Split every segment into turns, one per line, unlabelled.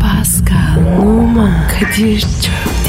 Pascal, Oman, Kadir çok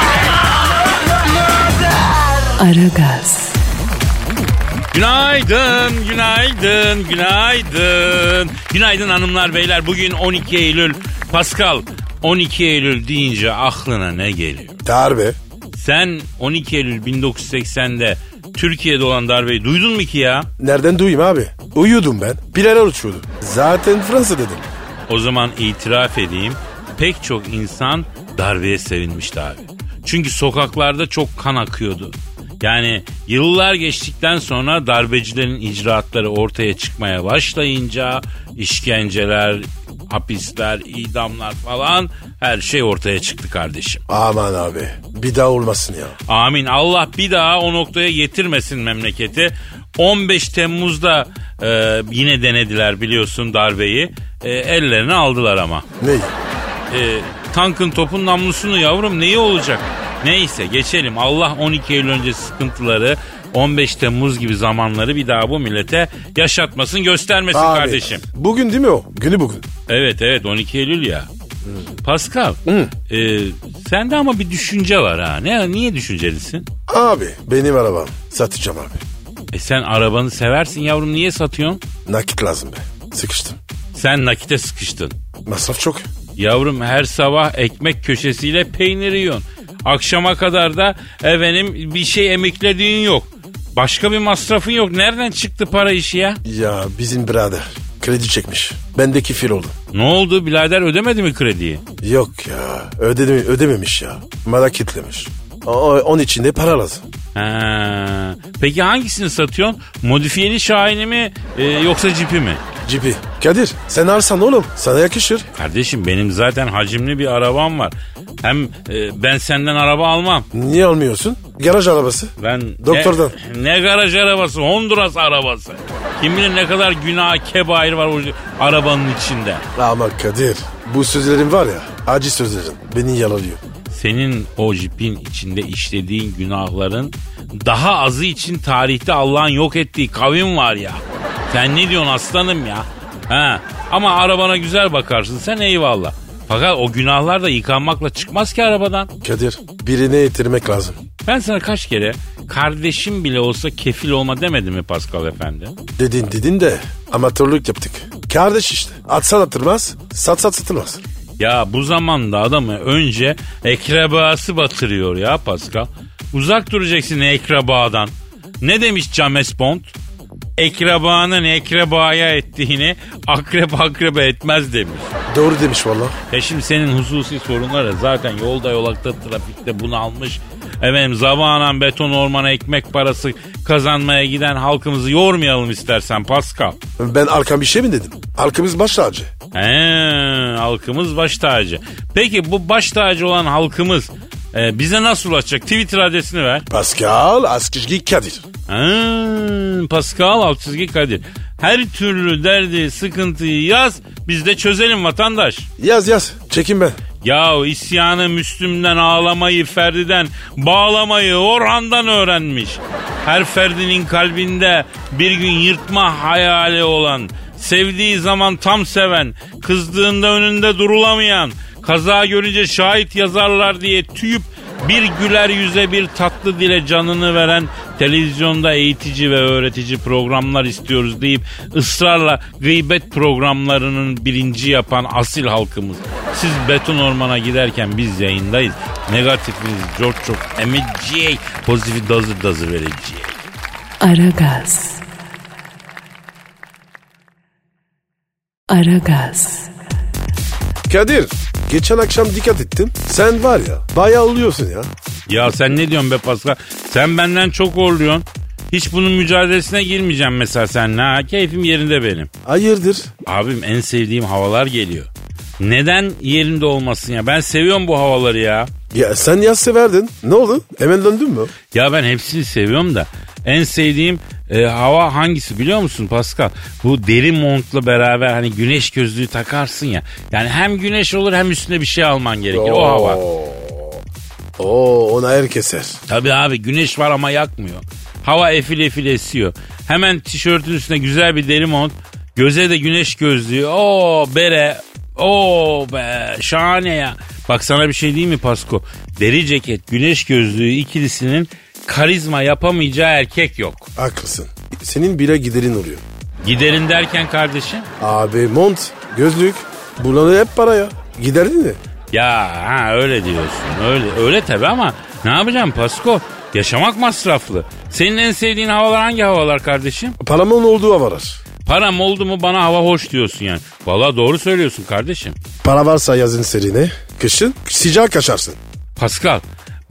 Aragaz,
Günaydın, günaydın, günaydın. Günaydın hanımlar beyler. Bugün 12 Eylül. Pascal 12 Eylül deyince aklına ne geliyor?
Darbe.
Sen 12 Eylül 1980'de Türkiye'de olan darbeyi duydun mu ki ya?
Nereden duyayım abi? Uyudum ben. Bilal'e uçuyordu. Zaten Fransa dedim.
O zaman itiraf edeyim. Pek çok insan darbeye sevinmişti abi. Çünkü sokaklarda çok kan akıyordu. Yani yıllar geçtikten sonra darbecilerin icraatları ortaya çıkmaya başlayınca işkenceler, hapisler, idamlar falan her şey ortaya çıktı kardeşim.
Aman abi. Bir daha olmasın ya.
Amin. Allah bir daha o noktaya getirmesin memleketi. 15 Temmuz'da e, yine denediler biliyorsun darbeyi. E, ellerine aldılar ama.
Ne?
E, tankın topun namlusunu yavrum neyi olacak? Neyse geçelim. Allah 12 Eylül öncesi sıkıntıları 15 Temmuz gibi zamanları bir daha bu millete yaşatmasın göstermesin
Abi,
kardeşim.
Bugün değil mi o? Günü bugün.
Evet evet 12 Eylül ya. Pascal e, sende ama bir düşünce var ha. Ne, niye düşüncelisin?
Abi benim arabam. Satacağım abi.
E sen arabanı seversin yavrum niye satıyorsun?
Nakit lazım be. Sıkıştım.
Sen nakite sıkıştın.
Masraf çok.
Yavrum her sabah ekmek köşesiyle peynir yiyorsun. Akşama kadar da efendim bir şey emeklediğin yok. Başka bir masrafın yok. Nereden çıktı para işi ya?
Ya bizim birader kredi çekmiş. Bendeki fil oldu.
Ne oldu birader ödemedi mi krediyi?
Yok ya ödedim, ödememiş ya. Merak kitlemiş. O- o- Onun için de para lazım.
Ha. Peki hangisini satıyorsun? Modifiyeli Şahin'i mi e, yoksa Cipi mi?
Cipi. Kadir sen arsan oğlum sana yakışır.
Kardeşim benim zaten hacimli bir arabam var. Hem e, ben senden araba almam.
Niye almıyorsun? Garaj arabası.
Ben
Doktordan.
Ne, ne garaj arabası? Honduras arabası. Kim bilir ne kadar günah kebair var o arabanın içinde.
Ama Kadir bu sözlerin var ya acı sözlerin beni yalanıyor.
Senin o jipin içinde işlediğin günahların daha azı için tarihte Allah'ın yok ettiği kavim var ya. Sen ne diyorsun aslanım ya? Ha, ama arabana güzel bakarsın sen eyvallah. Fakat o günahlar da yıkanmakla çıkmaz ki arabadan.
Kadir birine yetirmek lazım.
Ben sana kaç kere kardeşim bile olsa kefil olma demedim mi Pascal efendi?
Dedin dedin de amatörlük yaptık. Kardeş işte atsan atılmaz sat sat satılmaz.
Ya bu zamanda adamı önce ekrebası batırıyor ya Pascal. Uzak duracaksın ekrebadan. Ne demiş James Bond? Ekrebanın ekrebaya ettiğini akrep akrebe etmez demiş.
Doğru demiş valla.
E şimdi senin hususi sorunları zaten yolda yolakta trafikte bunu almış. Efendim zavanan beton ormana ekmek parası kazanmaya giden halkımızı yormayalım istersen Pascal.
Ben arkam bir şey mi dedim? Arkamız baş tacı.
He, halkımız baş tacı. Peki bu baş tacı olan halkımız e, bize nasıl ulaşacak? Twitter adresini ver.
Pascal Askizgi Kadir.
He, Pascal alt çizgi Kadir. Her türlü derdi, sıkıntıyı yaz. Biz de çözelim vatandaş.
Yaz yaz çekin ben.
Ya isyanı Müslüm'den ağlamayı Ferdi'den bağlamayı Orhan'dan öğrenmiş. Her Ferdi'nin kalbinde bir gün yırtma hayali olan, sevdiği zaman tam seven, kızdığında önünde durulamayan, kaza görünce şahit yazarlar diye tüyüp bir güler yüze bir tatlı dile canını veren televizyonda eğitici ve öğretici programlar istiyoruz deyip ısrarla gıybet programlarının birinci yapan asil halkımız. Siz beton ormana giderken biz yayındayız. Negatifinizi çok çok emeceğiz. Pozitifi dazı dazı vereceğiz.
Aragaz. Aragaz,
Kadir geçen akşam dikkat ettim. Sen var ya bayağı oluyorsun ya.
Ya sen ne diyorsun be Pascal? Sen benden çok horluyorsun. Hiç bunun mücadelesine girmeyeceğim mesela sen. Ha, keyfim yerinde benim.
Hayırdır?
Abim en sevdiğim havalar geliyor. Neden yerinde olmasın ya? Ben seviyorum bu havaları ya.
Ya sen yaz severdin. Ne oldu? Hemen döndün mü?
Ya ben hepsini seviyorum da en sevdiğim e, hava hangisi biliyor musun Pascal? Bu deri montla beraber hani güneş gözlüğü takarsın ya. Yani hem güneş olur hem üstüne bir şey alman gerekir. O hava.
Oo ona er keser.
Tabii abi güneş var ama yakmıyor. Hava efil efil esiyor. Hemen tişörtün üstüne güzel bir deri mont. Göze de güneş gözlüğü. Oo bere. Oo be şahane ya. Bak sana bir şey diyeyim mi Pasko? Deri ceket, güneş gözlüğü ikilisinin karizma yapamayacağı erkek yok.
Haklısın. Senin bira giderin oluyor.
Giderin derken kardeşim.
Abi mont, gözlük. Bunları hep para ya. Giderdin de.
Ya ha öyle diyorsun. Öyle öyle tabii ama ne yapacağım Pasko? Yaşamak masraflı. Senin en sevdiğin havalar hangi havalar kardeşim?
Paramın olduğu havalar.
Param oldu mu bana hava hoş diyorsun yani. Valla doğru söylüyorsun kardeşim.
Para varsa yazın serine. Kışın sıcak kaçarsın.
Pascal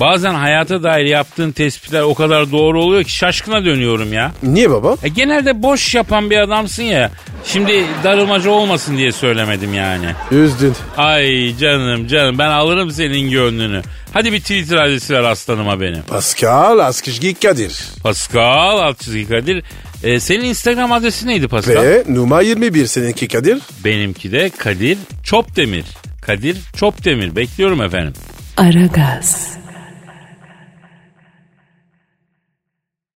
bazen hayata dair yaptığın tespitler o kadar doğru oluyor ki şaşkına dönüyorum ya.
Niye baba?
E, genelde boş yapan bir adamsın ya. Şimdi darılmacı olmasın diye söylemedim yani.
Üzdün.
Ay canım canım ben alırım senin gönlünü. Hadi bir Twitter adresi ver aslanıma benim.
Pascal Askışgi Kadir.
Pascal alt çizgi Kadir. E, senin Instagram adresi neydi Pascal?
Ve numara 21 seninki Kadir.
Benimki de Kadir Çopdemir. Kadir Çopdemir. Bekliyorum efendim.
Aragaz.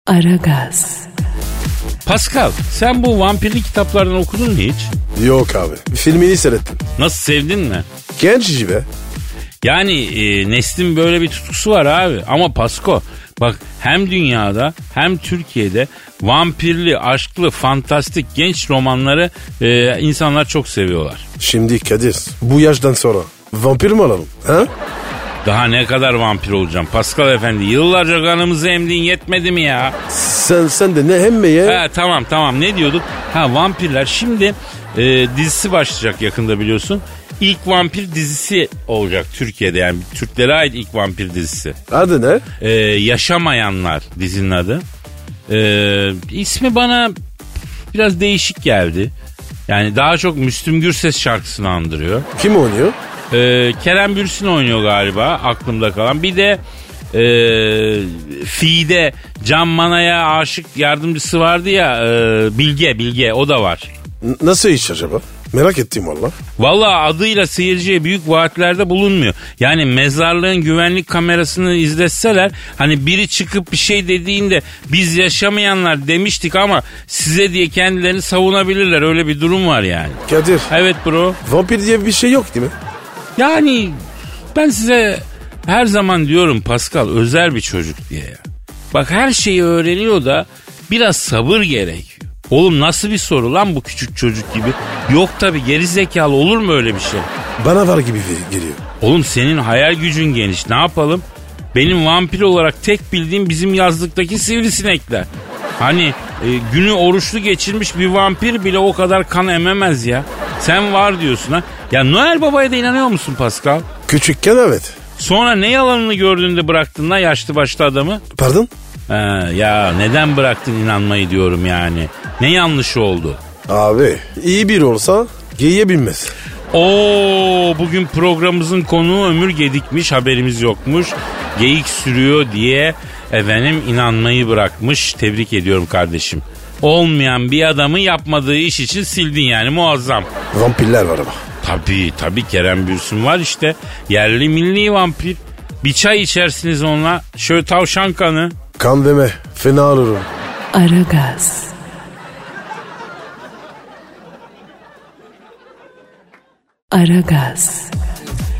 Aragaz.
Pascal sen bu vampirli kitaplardan okudun mu hiç?
Yok abi. Filmini seyrettim.
Nasıl sevdin mi?
Genç be.
Yani e, neslin böyle bir tutkusu var abi. Ama Pasko bak hem dünyada hem Türkiye'de vampirli, aşklı, fantastik genç romanları e, insanlar çok seviyorlar.
Şimdi Kadir bu yaştan sonra vampir mi olalım? Ha?
Daha ne kadar vampir olacağım Pascal efendi yıllarca kanımızı emdin yetmedi mi ya?
Sen, sen de ne hemmeye?
Ha tamam tamam ne diyorduk? Ha vampirler şimdi e, dizisi başlayacak yakında biliyorsun. İlk vampir dizisi olacak Türkiye'de yani Türklere ait ilk vampir dizisi.
Adı ne?
E, Yaşamayanlar dizinin adı. E, ismi bana biraz değişik geldi. Yani daha çok Müslüm Gürses şarkısını andırıyor.
Kim oynuyor?
E, Kerem Bürsin oynuyor galiba aklımda kalan. Bir de e, Fide Can Mana'ya aşık yardımcısı vardı ya e, Bilge Bilge o da var.
N- nasıl iş acaba? Merak ettim valla.
Valla adıyla seyirciye büyük vaatlerde bulunmuyor. Yani mezarlığın güvenlik kamerasını izletseler hani biri çıkıp bir şey dediğinde biz yaşamayanlar demiştik ama size diye kendilerini savunabilirler. Öyle bir durum var yani.
Kadir
Evet bro.
vampir diye bir şey yok değil mi?
Yani ben size her zaman diyorum Pascal özel bir çocuk diye ya. Bak her şeyi öğreniyor da biraz sabır gerekiyor. Oğlum nasıl bir soru lan bu küçük çocuk gibi? Yok tabi geri zekalı olur mu öyle bir şey?
Bana var gibi ge- geliyor.
Oğlum senin hayal gücün geniş ne yapalım? Benim vampir olarak tek bildiğim bizim yazlıktaki sivrisinekler. Hani e, günü oruçlu geçirmiş bir vampir bile o kadar kan ememez ya. Sen var diyorsun ha. Ya Noel Baba'ya da inanıyor musun Pascal?
Küçükken evet.
Sonra ne yalanını gördüğünde bıraktın lan yaşlı başlı adamı?
Pardon?
Ha, ya neden bıraktın inanmayı diyorum yani. Ne yanlış oldu?
Abi iyi bir olsa geyiğe binmez.
Oo bugün programımızın konuğu ömür gedikmiş haberimiz yokmuş. Geyik sürüyor diye efendim inanmayı bırakmış. Tebrik ediyorum kardeşim. Olmayan bir adamı yapmadığı iş için sildin yani muazzam.
Vampirler var ama.
Tabii tabii Kerem Bürsin var işte. Yerli milli vampir. Bir çay içersiniz onunla. Şöyle tavşan kanı.
Kan deme fena olurum.
Aragaz. Aragaz.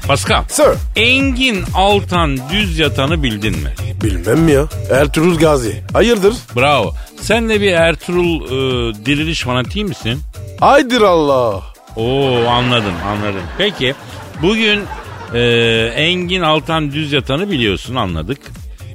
Pascal.
Sir.
Engin Altan düz yatanı bildin mi?
Bilmem ya. Ertuğrul Gazi. Hayırdır?
Bravo. Sen de bir Ertuğrul e, diriliş fanatiği misin?
Haydır Allah.
Oo anladım anladım. Peki bugün e, Engin Altan düz yatanı biliyorsun anladık.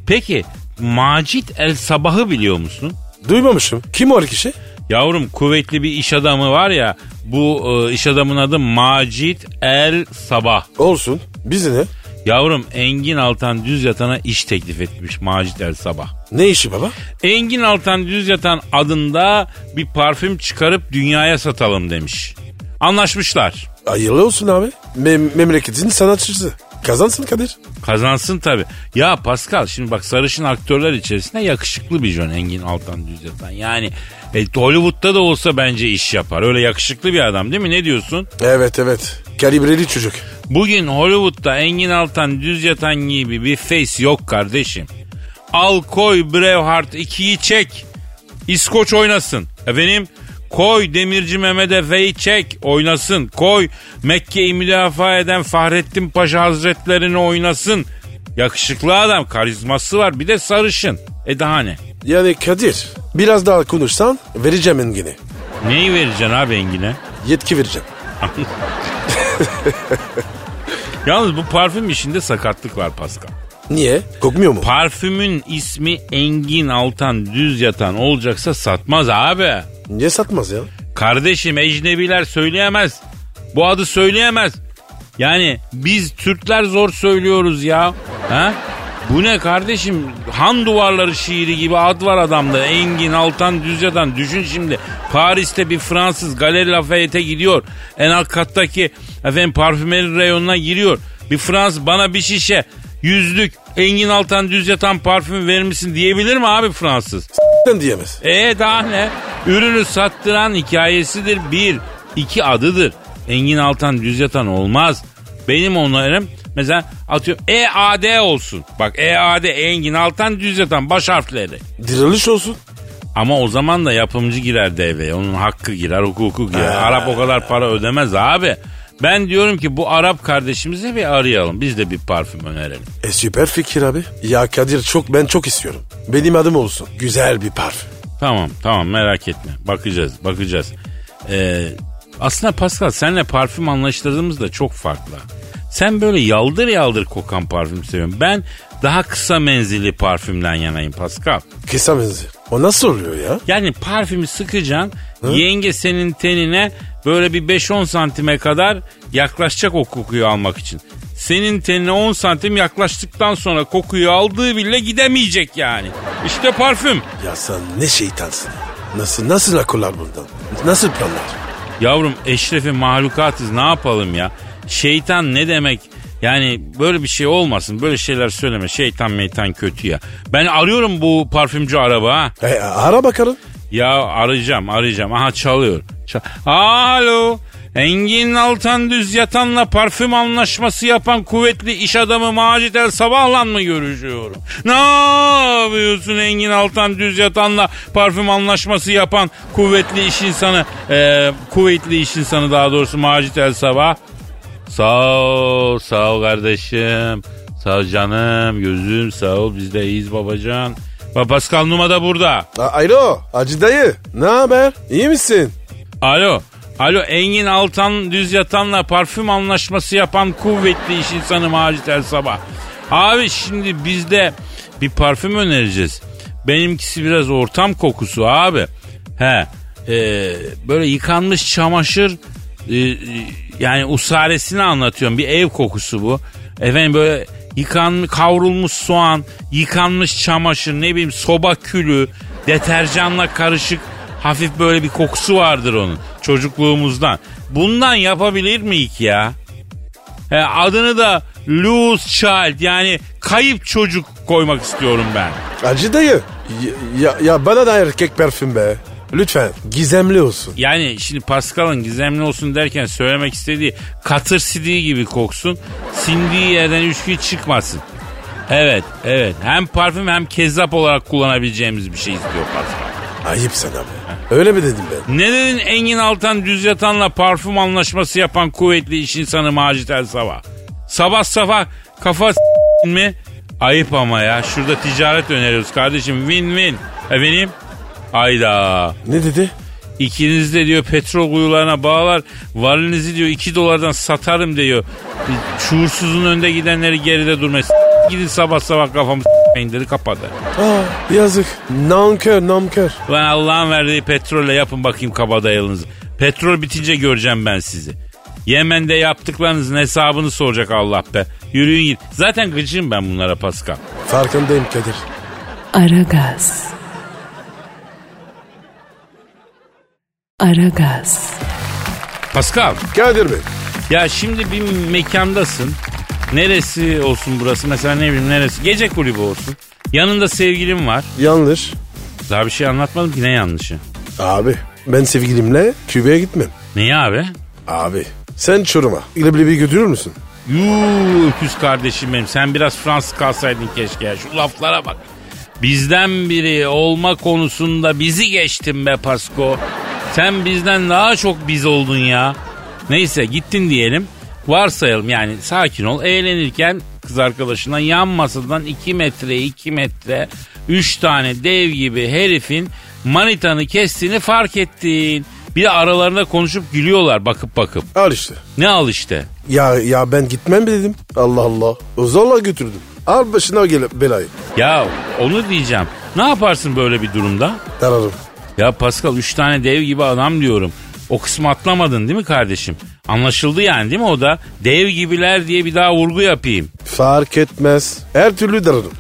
Peki Macit El Sabah'ı biliyor musun?
Duymamışım. Kim o kişi?
Yavrum kuvvetli bir iş adamı var ya bu e, iş adamın adı Macit El Sabah.
Olsun. Bizi ne?
Yavrum Engin Altan düz yatana iş teklif etmiş Macit El Sabah.
Ne işi baba?
Engin Altan Düz Yatan adında bir parfüm çıkarıp dünyaya satalım demiş. Anlaşmışlar.
Hayırlı olsun abi. Mem- memleketin sanatçısı. Kazansın Kadir.
Kazansın tabi. Ya Pascal şimdi bak sarışın aktörler içerisinde yakışıklı bir John Engin Altan Düzyatan. Yani e, Hollywood'da da olsa bence iş yapar. Öyle yakışıklı bir adam değil mi? Ne diyorsun?
Evet evet. Kalibreli çocuk.
Bugün Hollywood'da Engin Altan Düzyatan gibi bir face yok kardeşim. Al koy Braveheart 2'yi çek. İskoç oynasın. Efendim koy Demirci Mehmet Efe'yi çek oynasın. Koy Mekke'yi müdafaa eden Fahrettin Paşa Hazretlerini oynasın. Yakışıklı adam karizması var bir de sarışın. E daha ne?
Yani Kadir biraz daha konuşsan vereceğim engini.
Neyi vereceksin abi Engin'e?
Yetki vereceğim.
Yalnız bu parfüm işinde sakatlık var Pascal.
Niye? Kokmuyor mu?
Parfümün ismi Engin Altan Düz Yatan olacaksa satmaz abi.
Niye satmaz ya?
Kardeşim ecnebiler söyleyemez. Bu adı söyleyemez. Yani biz Türkler zor söylüyoruz ya. Ha? Bu ne kardeşim? Han duvarları şiiri gibi ad var adamda. Engin Altan Düz Yatan. Düşün şimdi. Paris'te bir Fransız Galeri Lafayette gidiyor. En alt kattaki efendim parfümeri reyonuna giriyor. Bir Fransız bana bir şişe yüzlük Engin Altan Düz Yatan parfüm verir misin diyebilir mi abi Fransız?
Ben diyemez.
E daha ne? Ürünü sattıran hikayesidir bir. iki adıdır. Engin Altan düz yatan olmaz. Benim onlarım mesela atıyorum EAD olsun. Bak EAD Engin Altan düz yatan baş harfleri.
Diriliş olsun.
Ama o zaman da yapımcı girer devreye. Onun hakkı girer, hukuku girer. Arap o kadar para ödemez abi. Ben diyorum ki bu Arap kardeşimizi bir arayalım. Biz de bir parfüm önerelim.
E süper fikir abi. Ya Kadir çok ben çok istiyorum. Benim adım olsun. Güzel bir parfüm.
Tamam tamam merak etme. Bakacağız bakacağız. Ee, aslında Pascal senle parfüm anlaştırdığımız da çok farklı. Sen böyle yaldır yaldır kokan parfüm seviyorsun. Ben daha kısa menzilli parfümden yanayım Pascal.
Kısa benziyor. O nasıl oluyor ya?
Yani parfümü sıkacaksın. Yenge senin tenine böyle bir 5-10 santime kadar yaklaşacak o kokuyu almak için. Senin tenine 10 santim yaklaştıktan sonra kokuyu aldığı bile gidemeyecek yani. İşte parfüm.
Ya sen ne şeytansın. Nasıl nasıl akıllar bundan? Nasıl planlar?
Yavrum eşrefi mahlukatız ne yapalım ya? Şeytan ne demek? Yani böyle bir şey olmasın. Böyle şeyler söyleme. Şeytan meytan kötü ya. Ben arıyorum bu parfümcü araba ha.
E, ara bakalım.
Ya arayacağım arayacağım. Aha çalıyor. Çal- Alo. Engin Altan Düz Yatan'la parfüm anlaşması yapan kuvvetli iş adamı Macit El Sabah'la mı görüşüyorum? Ne yapıyorsun Engin Altan Düz Yatan'la parfüm anlaşması yapan kuvvetli iş insanı, eee, kuvvetli iş insanı daha doğrusu Macit El Sabah? Sağ ol, sağ ol kardeşim. Sağ ol canım, gözüm sağ ol. Biz de iyiyiz babacan. Bak Pascal Numa da burada.
A- Alo Hacı dayı ne haber? İyi misin?
Alo. Alo Engin Altan Düz Yatan'la parfüm anlaşması yapan kuvvetli iş insanı Macit El Sabah. Abi şimdi bizde bir parfüm önereceğiz. Benimkisi biraz ortam kokusu abi. He. e, böyle yıkanmış çamaşır e, e, yani usaresini anlatıyorum. Bir ev kokusu bu. Efendim böyle yıkan kavrulmuş soğan, yıkanmış çamaşır, ne bileyim soba külü, deterjanla karışık Hafif böyle bir kokusu vardır onun çocukluğumuzdan. Bundan yapabilir miyik ya? He, adını da Loose Child yani kayıp çocuk koymak istiyorum ben.
Hacı dayı y- ya, ya bana da erkek parfüm be. Lütfen gizemli olsun.
Yani şimdi Pascal'ın gizemli olsun derken söylemek istediği katır sidiği gibi koksun. Sindiği yerden üçlü çıkmasın. Evet, evet. Hem parfüm hem kezzap olarak kullanabileceğimiz bir şey istiyor Pascal.
Ayıp sana be. Öyle mi dedim ben?
Ne dedin Engin Altan Düz Yatan'la parfüm anlaşması yapan kuvvetli iş insanı Macit El Sabah? Sabah sabah kafa s- mi? Ayıp ama ya. Şurada ticaret öneriyoruz kardeşim. Win win. Efendim? Ayda.
Ne dedi?
İkiniz de diyor petrol kuyularına bağlar. Varlinizi diyor 2 dolardan satarım diyor. Şuursuzun önde gidenleri geride durmaya s- Gidin sabah sabah kafamı s**meyin dedi kapadı.
Aa, yazık. Nankör nankör.
Lan Allah'ın verdiği petrolle yapın bakayım kabadayılınızı. Petrol bitince göreceğim ben sizi. Yemen'de yaptıklarınızın hesabını soracak Allah be. Yürüyün git. Zaten gıcığım ben bunlara Pascal.
Farkındayım Kadir.
Aragaz. Aragaz.
Pascal
Kadir Bey.
Ya şimdi bir mekandasın. Neresi olsun burası? Mesela ne bileyim neresi? Gece kulübü olsun. Yanında sevgilim var.
Yanlış.
Daha bir şey anlatmadım ki ne yanlışı.
Abi ben sevgilimle Küba'ya gitmem.
Neyi abi?
Abi sen Çorum'a. İleblebi götürür müsün?
Yuu öküz kardeşim benim. Sen biraz Fransız kalsaydın keşke ya. Şu laflara bak. Bizden biri olma konusunda bizi geçtin be Pasko. Sen bizden daha çok biz oldun ya. Neyse gittin diyelim. Varsayalım yani sakin ol. Eğlenirken kız arkadaşından yan masadan 2 metre 2 metre 3 tane dev gibi herifin manitanı kestiğini fark ettin. Bir de aralarında konuşup gülüyorlar bakıp bakıp.
Al işte.
Ne al işte.
Ya ya ben gitmem mi dedim. Allah Allah. Zorla götürdüm. Al başına gel belayı.
Ya onu diyeceğim. Ne yaparsın böyle bir durumda?
Dararım.
Ya Pascal 3 tane dev gibi adam diyorum. O kısmı atlamadın değil mi kardeşim? Anlaşıldı yani değil mi o da? Dev gibiler diye bir daha vurgu yapayım.
Fark etmez. Her türlü dararım.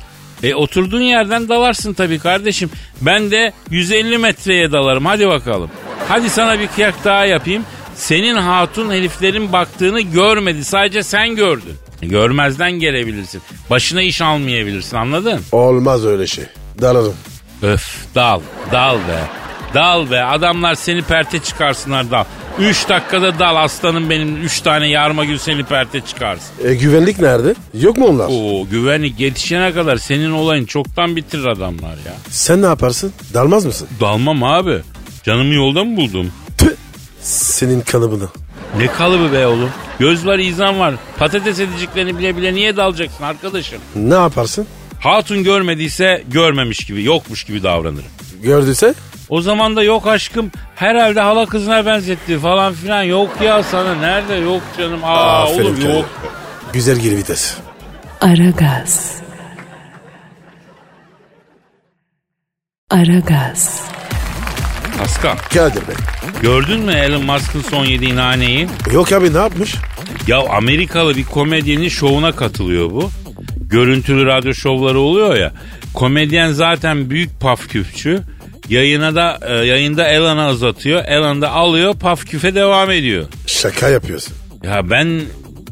E oturduğun yerden dalarsın tabii kardeşim. Ben de 150 metreye dalarım hadi bakalım. Hadi sana bir kıyak daha yapayım. Senin hatun heriflerin baktığını görmedi sadece sen gördün. Görmezden gelebilirsin. Başına iş almayabilirsin anladın?
Olmaz öyle şey. Dararım.
Öf dal dal be. Dal be adamlar seni perte çıkarsınlar dal. 3 dakikada dal aslanım benim 3 tane yarma gün seni perte çıkarsın.
E, güvenlik nerede? Yok mu onlar?
Oo güvenlik yetişene kadar senin olayın çoktan bitirir adamlar ya.
Sen ne yaparsın? Dalmaz mısın?
Dalmam abi. Canımı yolda mı buldum?
Tüh. Senin kalıbını.
Ne kalıbı be oğlum? Göz var izan var. Patates edeceklerini bile bile niye dalacaksın arkadaşım?
Ne yaparsın?
Hatun görmediyse görmemiş gibi yokmuş gibi davranırım.
Gördüyse?
O zaman da yok aşkım herhalde hala kızına benzetti falan filan yok ya sana nerede yok canım aa
Aferin
oğlum
kendine.
yok.
Güzel geri vites.
Aragaz. Aragaz.
Paskal
Kadir Bey.
gördün mü Elon Musk'ın son yediği naneyi?
Yok abi ne yapmış?
Ya Amerikalı bir komedyenin şovuna katılıyor bu. Görüntülü radyo şovları oluyor ya. Komedyen zaten büyük paf küfçü. Yayına da e, yayında Elon'a uzatıyor. Elon da alıyor paf küfe devam ediyor.
Şaka yapıyorsun.
Ya ben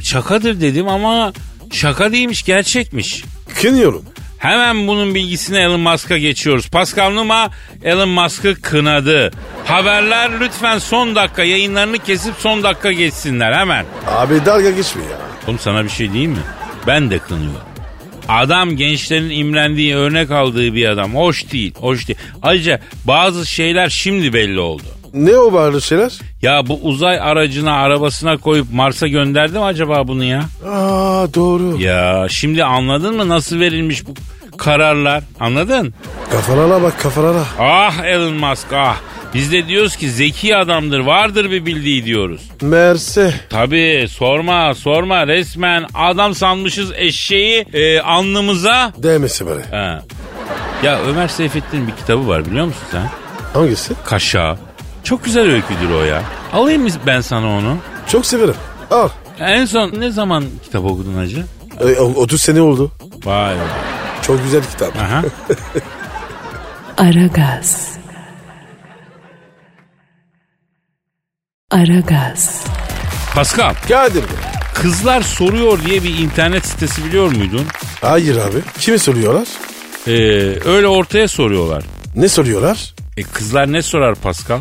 şakadır dedim ama şaka değilmiş gerçekmiş.
Kınıyorum.
Hemen bunun bilgisini Elon Musk'a geçiyoruz. Pascal Numa Elon Musk'ı kınadı. Haberler lütfen son dakika yayınlarını kesip son dakika geçsinler hemen.
Abi dalga geçme ya.
Oğlum sana bir şey diyeyim mi? Ben de kınıyorum. Adam gençlerin imrendiği, örnek aldığı bir adam. Hoş değil, hoş değil. Ayrıca bazı şeyler şimdi belli oldu.
Ne o bağırlı şeyler?
Ya bu uzay aracına, arabasına koyup Mars'a gönderdi mi acaba bunu ya?
Aa doğru.
Ya şimdi anladın mı nasıl verilmiş bu kararlar? Anladın?
Kafalara bak kafalara.
Ah Elon Musk ah. Biz de diyoruz ki zeki adamdır vardır bir bildiği diyoruz.
Mersi.
Tabii sorma sorma resmen adam sanmışız eşeği e, alnımıza.
Değmesi bari.
Ha. Ya Ömer Seyfettin'in bir kitabı var biliyor musun sen?
Hangisi?
Kaşa. Çok güzel öyküdür o ya. Alayım mı ben sana onu?
Çok severim. Al.
En son ne zaman kitap okudun hacı?
E, o- 30 sene oldu.
Vay be.
Çok güzel kitap.
Aha.
Aragaz. Aragaz.
Pascal,
Kadir Bey.
kızlar soruyor diye bir internet sitesi biliyor muydun?
Hayır abi. Kimi soruyorlar?
Ee, öyle ortaya soruyorlar.
Ne soruyorlar?
E kızlar ne sorar Pascal?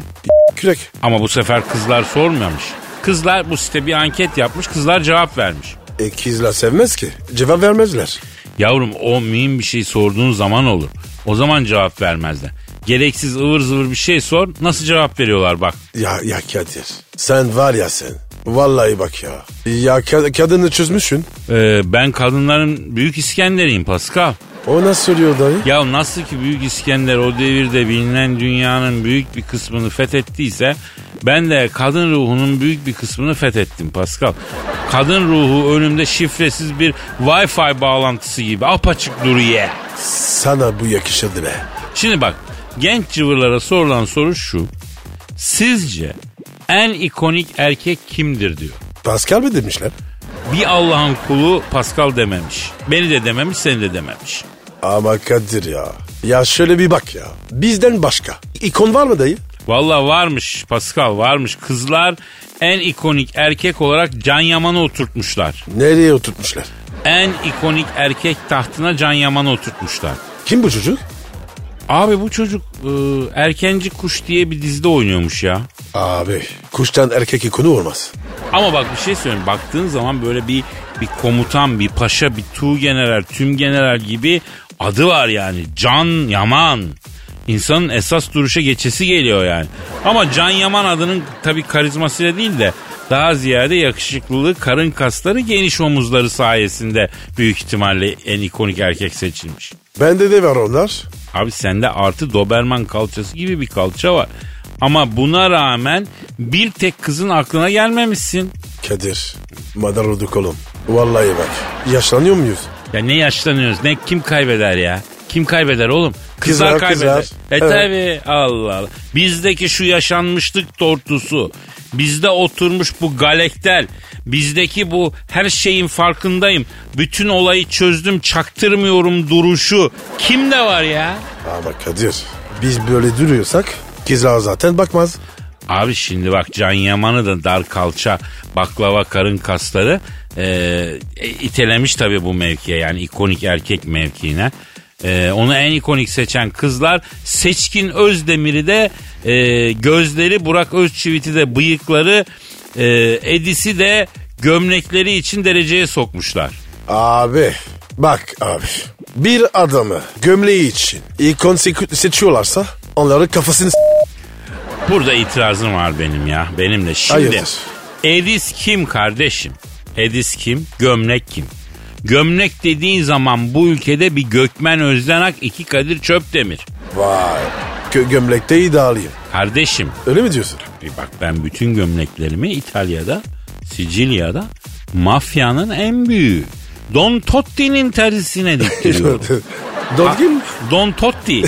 Kürek.
Ama bu sefer kızlar sormamış. Kızlar bu site bir anket yapmış, kızlar cevap vermiş.
E, kızlar sevmez ki. Cevap vermezler.
Yavrum o mühim bir şey sorduğun zaman olur. O zaman cevap vermezler. Gereksiz ıvır zıvır bir şey sor, nasıl cevap veriyorlar bak.
Ya, ya Kadir. Sen var ya sen. Vallahi bak ya. Ya ka- kadını çözmüşsün.
Ee, ben kadınların Büyük İskender'iyim Pascal.
O nasıl soruyor dayı?
Ya nasıl ki Büyük İskender o devirde bilinen dünyanın büyük bir kısmını fethettiyse ben de kadın ruhunun büyük bir kısmını fethettim Pascal. Kadın ruhu önümde şifresiz bir Wi-Fi bağlantısı gibi apaçık duruyor.
Sana bu yakışırdı be.
Şimdi bak genç cıvırlara sorulan soru şu. Sizce en ikonik erkek kimdir diyor.
Pascal mi demişler?
Bir Allah'ın kulu Pascal dememiş. Beni de dememiş, seni de dememiş.
Ama Kadir ya. Ya şöyle bir bak ya. Bizden başka. İkon var mı dayı?
Valla varmış Pascal varmış. Kızlar en ikonik erkek olarak Can Yaman'ı oturtmuşlar.
Nereye oturtmuşlar?
En ikonik erkek tahtına Can Yaman'ı oturtmuşlar.
Kim bu çocuk?
Abi bu çocuk e, Erkenci Kuş diye bir dizide oynuyormuş ya.
Abi kuştan erkek ikonu olmaz.
Ama bak bir şey söyleyeyim. Baktığın zaman böyle bir bir komutan, bir paşa, bir tu general, tüm general gibi adı var yani. Can Yaman. İnsanın esas duruşa geçesi geliyor yani. Ama Can Yaman adının tabii karizmasıyla değil de daha ziyade yakışıklılığı, karın kasları, geniş omuzları sayesinde büyük ihtimalle en ikonik erkek seçilmiş.
Bende de var onlar.
Abi sende artı Doberman kalçası gibi bir kalça var. Ama buna rağmen bir tek kızın aklına gelmemişsin.
Kadir, madar olduk oğlum. Vallahi bak, yaşlanıyor muyuz?
Ya ne yaşlanıyoruz ne kim kaybeder ya? Kim kaybeder oğlum? Kızlar,
Kızlar,
kaybeder.
kızlar.
E
Evet.
tabi Allah Allah. Bizdeki şu yaşanmışlık tortusu. Bizde oturmuş bu galektel. Bizdeki bu her şeyin farkındayım. Bütün olayı çözdüm çaktırmıyorum duruşu. Kimde var ya?
Ama Kadir, biz böyle duruyorsak kızlar zaten bakmaz.
Abi şimdi bak Can Yaman'ı da dar kalça, baklava karın kasları e, e, itelemiş tabii bu mevkiye yani ikonik erkek mevkiine. E, onu en ikonik seçen kızlar Seçkin Özdemir'i de e, gözleri Burak Özçivit'i de bıyıkları e, Edis'i de gömlekleri için dereceye sokmuşlar.
Abi, bak abi. Bir adamı gömleği için ikon se- seçiyorlarsa onların kafasını s-
Burada itirazım var benim ya benimle. Şimdi
Hayırdır?
Edis kim kardeşim? Edis kim? Gömlek kim? Gömlek dediğin zaman bu ülkede bir Gökmen Özdenak iki Kadir Çöpdemir.
Vay, gö- gömlekte idealiyim.
Kardeşim
Öyle mi diyorsun?
bir bak ben bütün gömleklerimi İtalya'da, Sicilya'da mafyanın en büyüğü Don Totti'nin terisine diktiriyorum.
Dolgin
Don Totti.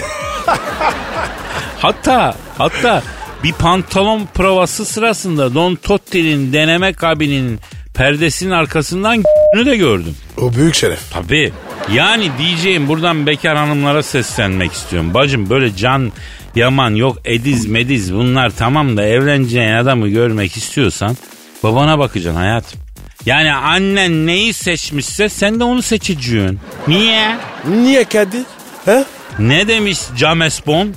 hatta hatta bir pantolon provası sırasında Don Totti'nin deneme kabininin perdesinin arkasından ***'ünü de gördüm.
O büyük şeref.
Tabii. Yani diyeceğim buradan bekar hanımlara seslenmek istiyorum. Bacım böyle can yaman yok ediz mediz bunlar tamam da evleneceğin adamı görmek istiyorsan babana bakacaksın hayatım. Yani annen neyi seçmişse sen de onu seçeceksin. Niye?
Niye Kadir? He?
Ne demiş James Bond?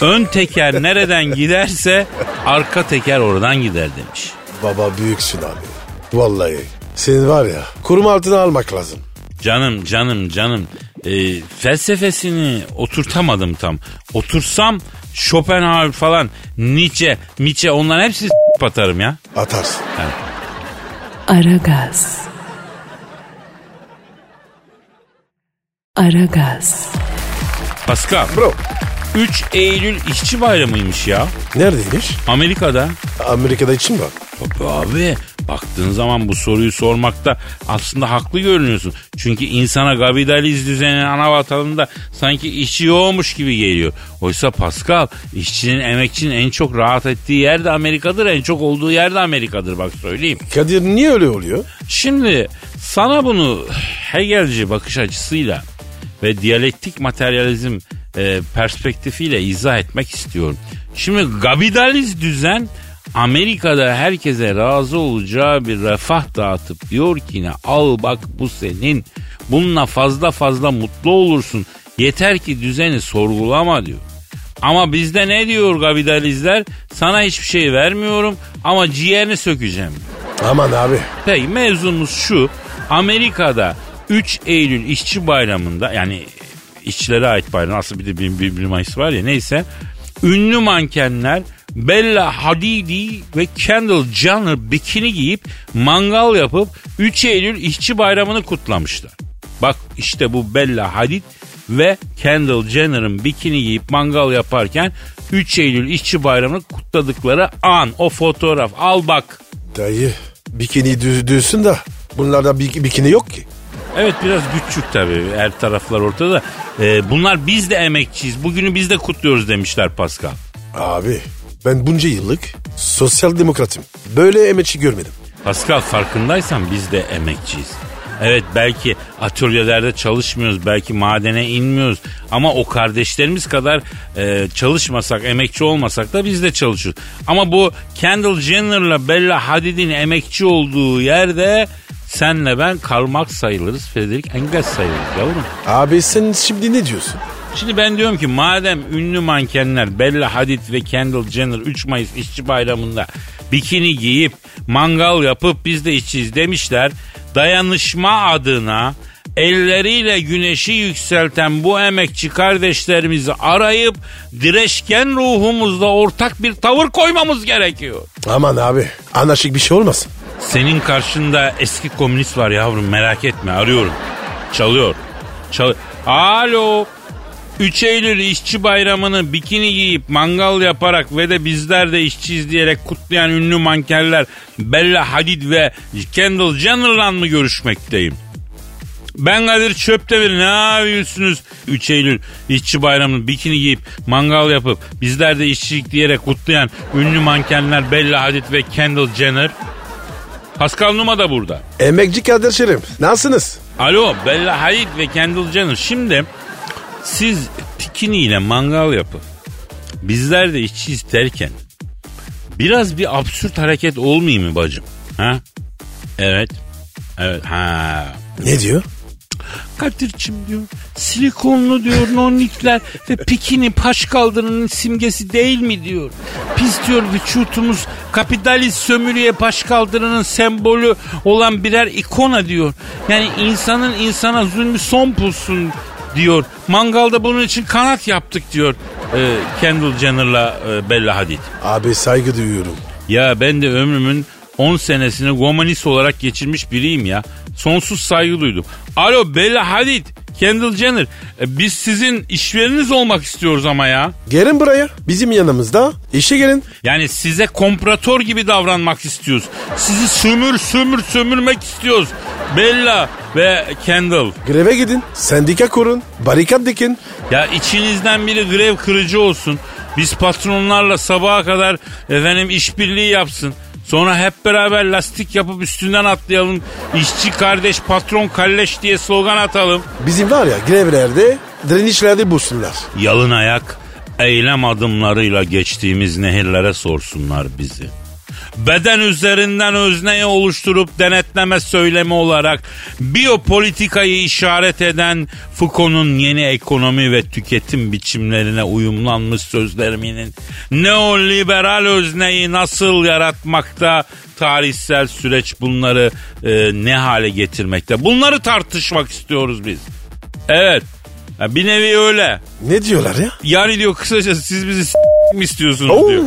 Ön teker nereden giderse arka teker oradan gider demiş.
Baba büyüksün abi. Vallahi. Senin var ya koruma altına almak lazım.
Canım canım canım Ee, felsefesini oturtamadım tam. Otursam Schopenhauer falan Nietzsche, Nietzsche onların hepsini s- atarım ya.
Atarsın.
Aragaz. Aragaz.
Pascal.
Bro.
3 Eylül işçi bayramıymış ya
Neredeymiş?
Amerika'da.
Amerika'da için mi var?
Tabii abi baktığın zaman bu soruyu sormakta aslında haklı görünüyorsun. Çünkü insana kapitalizm düzeninin ana vatanında sanki işçi yoğmuş gibi geliyor. Oysa Pascal işçinin emekçinin en çok rahat ettiği yer de Amerika'dır en çok olduğu yer de Amerika'dır bak söyleyeyim.
Kadir niye öyle oluyor?
Şimdi sana bunu Hegelci bakış açısıyla ve diyalektik materyalizm e, perspektifiyle izah etmek istiyorum. Şimdi kapitalist düzen Amerika'da herkese razı olacağı bir refah dağıtıp diyor ki ne al bak bu senin bununla fazla fazla mutlu olursun yeter ki düzeni sorgulama diyor. Ama bizde ne diyor kapitalizler? Sana hiçbir şey vermiyorum ama ciğerini sökeceğim.
Aman abi.
Peki mevzumuz şu. Amerika'da 3 Eylül işçi bayramında yani işçilere ait bayram aslında bir de 1, Mayıs var ya neyse. Ünlü mankenler Bella Hadidi ve Kendall Jenner bikini giyip mangal yapıp 3 Eylül işçi bayramını kutlamışlar. Bak işte bu Bella Hadid ve Kendall Jenner'ın bikini giyip mangal yaparken 3 Eylül işçi bayramını kutladıkları an o fotoğraf al bak.
Dayı bikini düz, düzsün de bunlarda bi- bikini yok ki.
Evet biraz güççük tabii. Her taraflar ortada. Ee, bunlar biz de emekçiyiz. Bugünü biz de kutluyoruz demişler Pascal.
Abi ben bunca yıllık sosyal demokratım. Böyle emekçi görmedim.
Pascal farkındaysan biz de emekçiyiz. Evet belki atölyelerde çalışmıyoruz, belki madene inmiyoruz. Ama o kardeşlerimiz kadar e, çalışmasak, emekçi olmasak da biz de çalışıyoruz. Ama bu Kendall Jenner'la Bella Hadid'in emekçi olduğu yerde senle ben Karl Marx sayılırız, Frederick Engels sayılırız yavrum.
Abi sen şimdi ne diyorsun?
Şimdi ben diyorum ki madem ünlü mankenler Bella Hadid ve Kendall Jenner 3 Mayıs işçi bayramında bikini giyip mangal yapıp biz de işçiyiz demişler. Dayanışma adına elleriyle güneşi yükselten bu emekçi kardeşlerimizi arayıp direşken ruhumuzda ortak bir tavır koymamız gerekiyor.
Aman abi anlaşık bir şey olmasın.
Senin karşında eski komünist var yavrum merak etme arıyorum. Çalıyor. Çal Alo. 3 Eylül işçi bayramını bikini giyip mangal yaparak ve de bizler de işçiyiz diyerek kutlayan ünlü mankenler Bella Hadid ve Kendall Jenner'la mı görüşmekteyim? Ben Kadir Çöptemir ne yapıyorsunuz? 3 Eylül işçi bayramını bikini giyip mangal yapıp bizler de işçilik diyerek kutlayan ünlü mankenler Bella Hadid ve Kendall Jenner. Pascal Numa da burada.
Emekçi kardeşlerim nasılsınız?
Alo Bella Hadid ve Kendall Jenner. Şimdi siz pikini ile mangal yapın. Bizler de işçiyiz derken biraz bir absürt hareket olmayayım mı bacım? Ha? Evet. Evet. Ha.
Ne diyor?
Kadir'cim diyor. Silikonlu diyor nonnikler ve pikini paş kaldırının simgesi değil mi diyor. Biz diyor vücutumuz kapitalist sömürüye paş kaldırının sembolü olan birer ikona diyor. Yani insanın insana zulmü son bulsun diyor. Mangalda bunun için kanat yaptık diyor. Ee, Kendall Jenner'la e, Bella Hadid.
Abi saygı duyuyorum.
Ya ben de ömrümün 10 senesini gomanist olarak geçirmiş biriyim ya. Sonsuz saygı duydum. Alo Bella Hadid, Kendall Jenner. e, biz sizin işveriniz olmak istiyoruz ama ya.
Gelin buraya bizim yanımızda işe gelin.
Yani size kompratör gibi davranmak istiyoruz. Sizi sömür sömür sömürmek istiyoruz. Bella ve Kendall.
Greve gidin. Sendika kurun. Barikat dikin.
Ya içinizden biri grev kırıcı olsun. Biz patronlarla sabaha kadar efendim işbirliği yapsın. Sonra hep beraber lastik yapıp üstünden atlayalım. İşçi kardeş patron kalleş diye slogan atalım.
Bizim var ya grevlerde direnişlerde bulsunlar.
Yalın ayak eylem adımlarıyla geçtiğimiz nehirlere sorsunlar bizi. Beden üzerinden özneyi oluşturup denetleme söylemi olarak biyopolitikayı işaret eden Foucault'un yeni ekonomi ve tüketim biçimlerine uyumlanmış sözleriminin neoliberal özneyi nasıl yaratmakta tarihsel süreç bunları e, ne hale getirmekte bunları tartışmak istiyoruz biz. Evet Ya bir nevi öyle.
Ne diyorlar ya?
Yani diyor kısacası siz bizi s- mi istiyorsunuz
Oo.
diyor.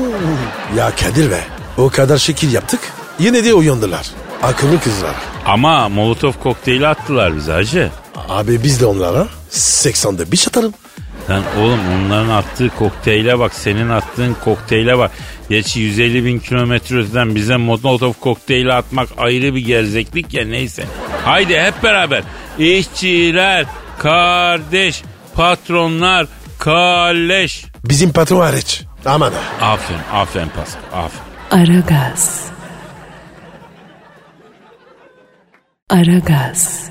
Ya Kadir be o kadar şekil yaptık yine de uyandılar. Akıllı kızlar.
Ama Molotov kokteyli attılar bize hacı.
Abi biz de onlara 80'de bir çatarım.
Lan oğlum onların attığı kokteyle bak senin attığın kokteyle bak. Geçi 150 bin kilometre öteden bize Molotov kokteyli atmak ayrı bir gerzeklik ya neyse. Haydi hep beraber işçiler, kardeş, patronlar, kalleş.
Bizim patron hariç. Aman ha.
Aferin, aferin Pascal, aferin.
Aragaz. Aragaz.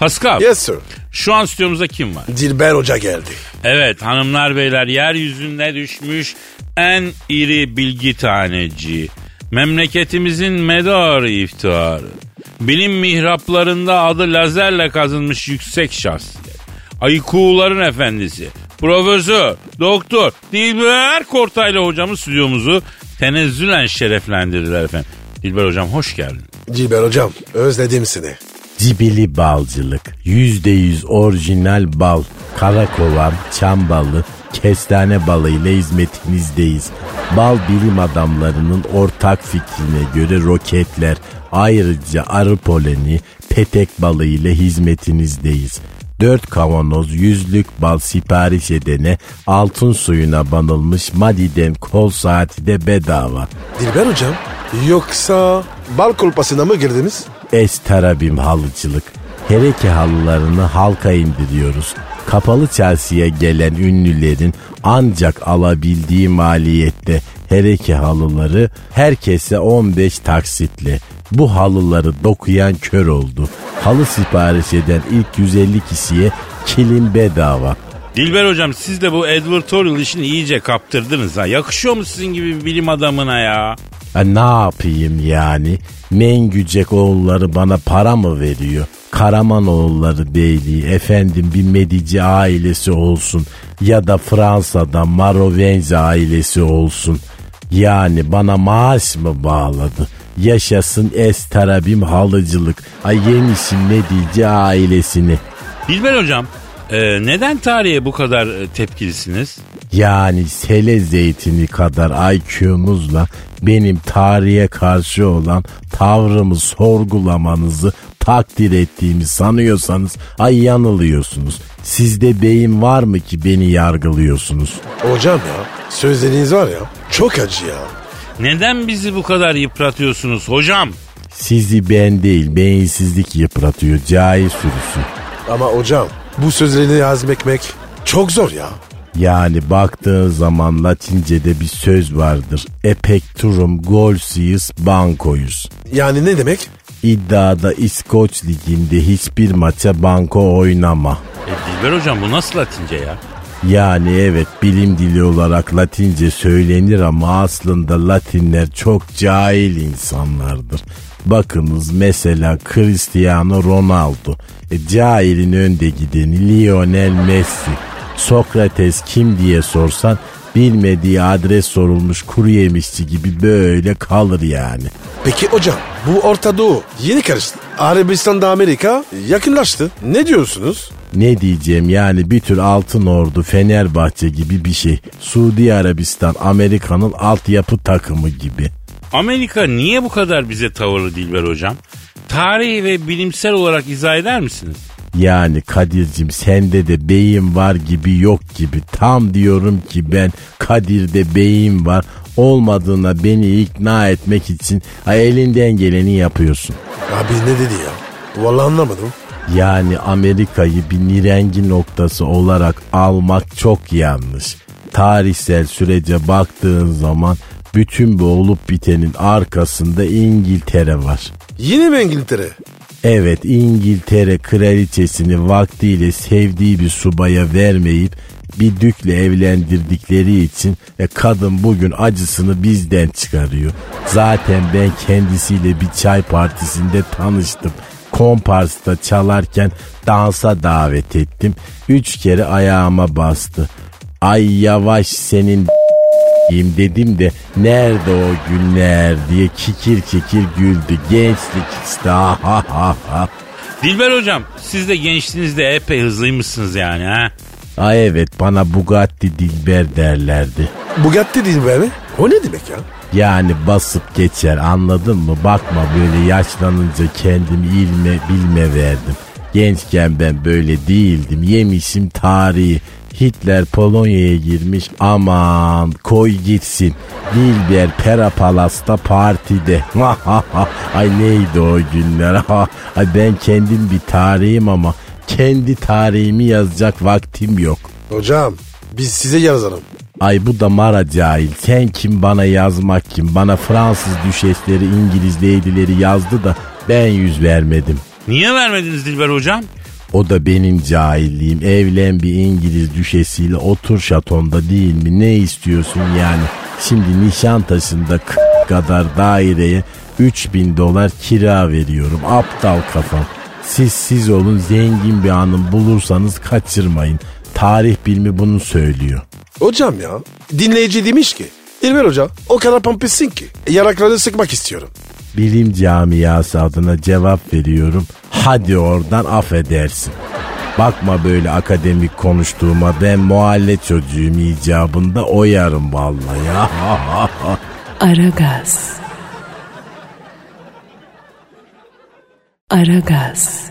Pascal,
Yes sir.
şu an stüdyomuzda kim var?
Dilber Hoca geldi.
Evet hanımlar beyler yeryüzüne düşmüş en iri bilgi taneci. Memleketimizin medarı iftiharı. Bilim mihraplarında adı lazerle kazınmış yüksek şahsiyet. Ayıkuğuların efendisi. Profesör, doktor, Dilber Kortaylı hocamız stüdyomuzu tenezzülen şereflendirdiler efendim. Dilber hocam hoş geldin.
Dilber Hocam özledim seni.
Dibili balcılık, yüzde yüz orijinal bal, karakolan, çam balı, kestane balı ile hizmetinizdeyiz. Bal bilim adamlarının ortak fikrine göre roketler, ayrıca arı poleni, petek balı ile hizmetinizdeyiz. 4 kavanoz yüzlük bal sipariş edene altın suyuna banılmış Madidem kol saati de bedava.
Dilber Hocam yoksa bal kolpasına mı girdiniz?
Es Tarabim halıcılık. Hereke halılarını halka indiriyoruz. Kapalı çarşıya gelen ünlülerin ancak alabildiği maliyette hereke halıları herkese 15 taksitli. Bu halıları dokuyan kör oldu. Halı sipariş eden ilk 150 kişiye kilim bedava.
Dilber hocam siz de bu advertorial işini iyice kaptırdınız ha. Yakışıyor mu sizin gibi bir bilim adamına ya?
Ha, ne yapayım yani? Mengücek oğulları bana para mı veriyor? Karamanoğulları değil, efendim bir Medici ailesi olsun ya da Fransa'da Marovenzi ailesi olsun. Yani bana maaş mı bağladı? Yaşasın estarabim halıcılık. Ay yemişim Medici ailesini.
Dilber hocam e, neden tarihe bu kadar e, tepkilisiniz?
Yani sele zeytini kadar IQ'muzla benim tarihe karşı olan tavrımı sorgulamanızı takdir ettiğimi sanıyorsanız ay yanılıyorsunuz. Sizde beyin var mı ki beni yargılıyorsunuz?
Hocam ya sözleriniz var ya çok acı ya.
Neden bizi bu kadar yıpratıyorsunuz hocam?
Sizi ben değil beyinsizlik yıpratıyor cahil sürüsü.
Ama hocam bu sözlerini hazmetmek çok zor ya.
Yani baktığın zaman Latince'de bir söz vardır. Epectorum golsius bankoyus.
Yani ne demek?
İddiada İskoç Ligi'nde hiçbir maça banko oynama.
E, Dilber hocam bu nasıl Latince ya?
Yani evet bilim dili olarak Latince söylenir ama aslında Latinler çok cahil insanlardır. Bakınız mesela Cristiano Ronaldo, e, cahilin önde gideni Lionel Messi, Sokrates kim diye sorsan bilmediği adres sorulmuş kuru yemişçi gibi böyle kalır yani.
Peki hocam bu Orta Doğu yeni karıştı. Arabistan'da Amerika yakınlaştı. Ne diyorsunuz?
Ne diyeceğim yani bir tür altın ordu Fenerbahçe gibi bir şey. Suudi Arabistan Amerika'nın altyapı takımı gibi.
Amerika niye bu kadar bize tavırlı Dilber hocam? Tarihi ve bilimsel olarak izah eder misiniz?
Yani Kadir'cim sende de beyin var gibi yok gibi. Tam diyorum ki ben Kadir'de beyin var olmadığına beni ikna etmek için ha, elinden geleni yapıyorsun.
Abi ne dedi ya? Vallahi anlamadım.
Yani Amerika'yı bir nirengi noktası olarak almak çok yanlış. Tarihsel sürece baktığın zaman bütün bu olup bitenin arkasında İngiltere var.
Yine mi İngiltere?
Evet İngiltere kraliçesini vaktiyle sevdiği bir subaya vermeyip bir dükle evlendirdikleri için e, kadın bugün acısını bizden çıkarıyor. Zaten ben kendisiyle bir çay partisinde tanıştım. Komparsta çalarken dansa davet ettim. Üç kere ayağıma bastı. Ay yavaş senin yiyeyim dedim de nerede o günler diye kikir kikir güldü. Gençlik işte ha ha ha ha.
Dilber hocam siz de gençliğinizde epey hızlıymışsınız yani ha?
Ay evet bana Bugatti Dilber derlerdi.
Bugatti değil mi? O ne demek ya?
Yani basıp geçer anladın mı? Bakma böyle yaşlanınca kendimi ilme bilme verdim. Gençken ben böyle değildim. Yemişim tarihi. Hitler Polonya'ya girmiş aman koy gitsin. Dilber Pera Palas'ta partide. Ay neydi o günler. Ay ben kendim bir tarihim ama kendi tarihimi yazacak vaktim yok.
Hocam biz size yazalım.
Ay bu da mara cahil. Sen kim bana yazmak kim? Bana Fransız düşesleri, İngiliz leydileri yazdı da ben yüz vermedim.
Niye vermediniz Dilber hocam?
O da benim cahilliğim. Evlen bir İngiliz düşesiyle otur şatonda değil mi? Ne istiyorsun yani? Şimdi Nişantaşı'nda k- kadar daireye 3000 dolar kira veriyorum. Aptal kafam. Siz siz olun zengin bir hanım bulursanız kaçırmayın. Tarih bilimi bunu söylüyor.
Hocam ya dinleyici demiş ki İlber Hoca o kadar pampesin ki yaraklarını sıkmak istiyorum.
Bilim camiası adına cevap veriyorum. Hadi oradan affedersin. Bakma böyle akademik konuştuğuma ben muhalle çocuğum icabında oyarım vallahi. ya.
Aragaz. Aragaz.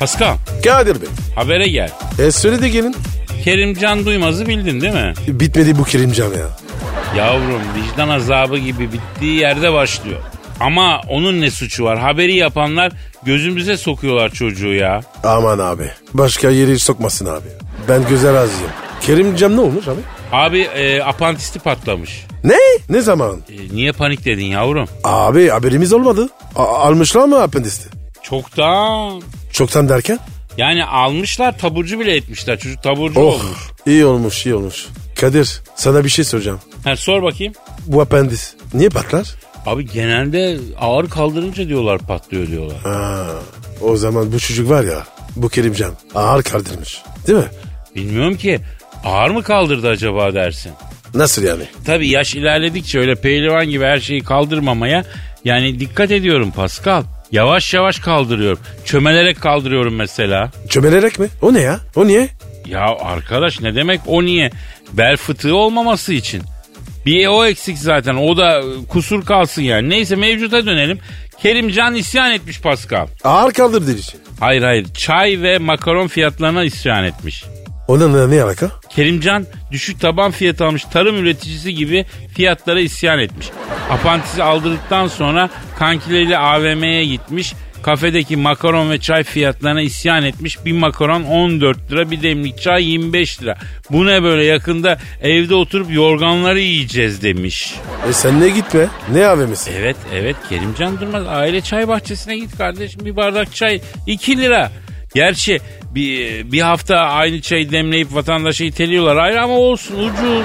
Pascal
Kadir Bey
habere gel.
e söyle de gelin.
Kerimcan Duymaz'ı bildin değil mi?
Bitmedi bu Kerimcan ya.
Yavrum vicdan azabı gibi bittiği yerde başlıyor. Ama onun ne suçu var? Haberi yapanlar gözümüze sokuyorlar çocuğu ya.
Aman abi başka yeri sokmasın abi. Ben göze razıyım. Kerimcan ne olmuş abi?
Abi e, apantisti patlamış.
Ne? Ne zaman?
E, niye panikledin yavrum?
Abi haberimiz olmadı. A- almışlar mı appendisti?
Çoktan.
Çoktan derken?
Yani almışlar taburcu bile etmişler. Çocuk taburcu
Oh
olmuş.
iyi olmuş iyi olmuş. Kadir sana bir şey soracağım.
Ha, sor bakayım.
Bu appendis niye patlar?
Abi genelde ağır kaldırınca diyorlar patlıyor diyorlar.
O zaman bu çocuk var ya bu Kerimcan ağır kaldırmış değil mi?
Bilmiyorum ki ağır mı kaldırdı acaba dersin.
Nasıl yani?
Tabii yaş ilerledikçe öyle pehlivan gibi her şeyi kaldırmamaya yani dikkat ediyorum Pascal. Yavaş yavaş kaldırıyorum. Çömelerek kaldırıyorum mesela.
Çömelerek mi? O ne ya? O niye?
Ya arkadaş ne demek o niye? Bel fıtığı olmaması için. Bir o eksik zaten o da e, kusur kalsın yani. Neyse mevcuta dönelim. Kerimcan isyan etmiş Pascal.
Ağır kaldırdığı için.
Hayır hayır çay ve makaron fiyatlarına isyan etmiş.
Onunla ne alaka?
Kerimcan düşük taban fiyat almış tarım üreticisi gibi fiyatlara isyan etmiş. Apantisi aldırdıktan sonra kankileriyle AVM'ye gitmiş. Kafedeki makaron ve çay fiyatlarına isyan etmiş. Bir makaron 14 lira bir demlik çay 25 lira. Bu ne böyle yakında evde oturup yorganları yiyeceğiz demiş.
E sen ne gitme? Ne AVM'si?
Evet evet Kerimcan Durmaz aile çay bahçesine git kardeşim bir bardak çay 2 lira. Gerçi bir, bir hafta aynı çayı demleyip vatandaşı iteliyorlar ayrı ama olsun ucuz.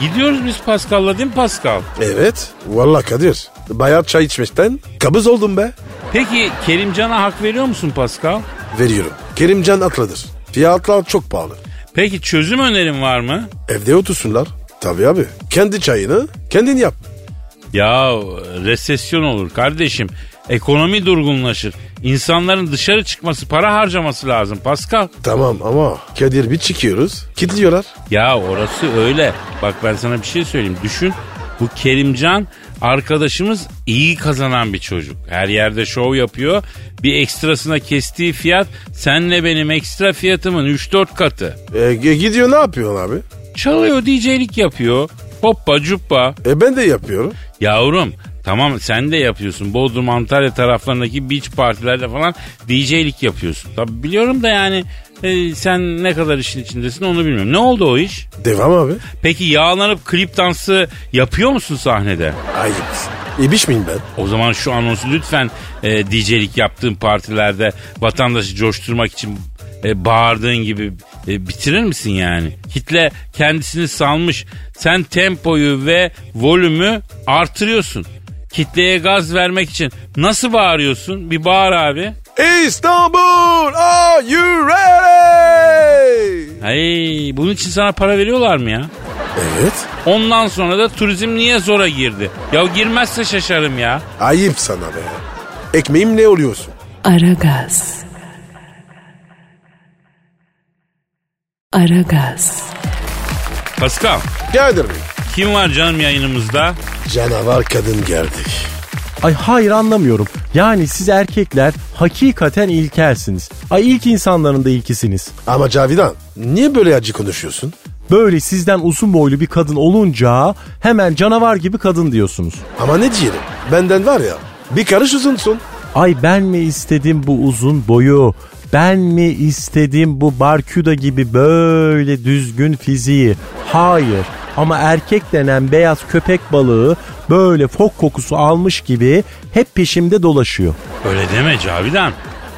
Gidiyoruz biz Pascal'la değil mi Pascal?
Evet. Vallahi Kadir. Bayağı çay içmekten kabız oldum be.
Peki Kerimcan'a hak veriyor musun Pascal?
Veriyorum. Kerimcan atladır. Fiyatlar çok pahalı.
Peki çözüm önerin var mı?
Evde otursunlar. Tabii abi. Kendi çayını kendin yap.
Ya resesyon olur kardeşim. Ekonomi durgunlaşır. İnsanların dışarı çıkması, para harcaması lazım Pascal.
Tamam ama Kadir bir çıkıyoruz. Kitliyorlar.
Ya orası öyle. Bak ben sana bir şey söyleyeyim. Düşün bu Kerimcan arkadaşımız iyi kazanan bir çocuk. Her yerde şov yapıyor. Bir ekstrasına kestiği fiyat senle benim ekstra fiyatımın 3-4 katı.
E, g- gidiyor ne yapıyorsun abi?
Çalıyor DJ'lik yapıyor. Hoppa cuppa.
E ben de yapıyorum.
Yavrum tamam sen de yapıyorsun. Bodrum Antalya taraflarındaki beach partilerde falan DJ'lik yapıyorsun. Tabii biliyorum da yani e, sen ne kadar işin içindesin onu bilmiyorum. Ne oldu o iş?
Devam abi.
Peki yağlanıp klip dansı yapıyor musun sahnede?
Ayıp. İbiş miyim ben?
O zaman şu anonsu lütfen e, DJ'lik yaptığın partilerde vatandaşı coşturmak için e, bağırdığın gibi e, bitirir misin yani? Kitle kendisini salmış. Sen tempoyu ve volümü artırıyorsun. Kitleye gaz vermek için nasıl bağırıyorsun? Bir bağır abi.
İstanbul are you ready?
Hey, bunun için sana para veriyorlar mı ya?
Evet.
Ondan sonra da turizm niye zora girdi? Ya girmezse şaşarım ya.
Ayıp sana be. Ekmeğim ne oluyorsun?
Aragaz. Aragaz.
Pascal.
Kadir Bey.
Kim var canım yayınımızda?
Canavar kadın geldi.
Ay hayır anlamıyorum. Yani siz erkekler hakikaten ilkelsiniz. Ay ilk insanların da ilkisiniz.
Ama Cavidan niye böyle acı konuşuyorsun?
Böyle sizden uzun boylu bir kadın olunca hemen canavar gibi kadın diyorsunuz.
Ama ne diyelim benden var ya bir karış uzunsun.
Ay ben mi istedim bu uzun boyu? Ben mi istedim bu barküda gibi böyle düzgün fiziği? Hayır. Ama erkek denen beyaz köpek balığı böyle fok kokusu almış gibi hep peşimde dolaşıyor.
Öyle deme Cavidan.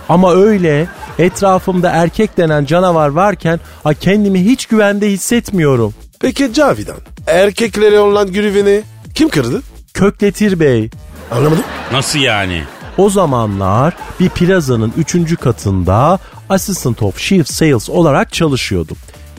Ama öyle etrafımda erkek denen canavar varken ay kendimi hiç güvende hissetmiyorum.
Peki Cavidan erkeklere olan güveni kim kırdı?
Kökletir Bey,
Anlamadım.
Nasıl yani?
O zamanlar bir plazanın 3. katında Assistant of Chief Sales olarak çalışıyordum.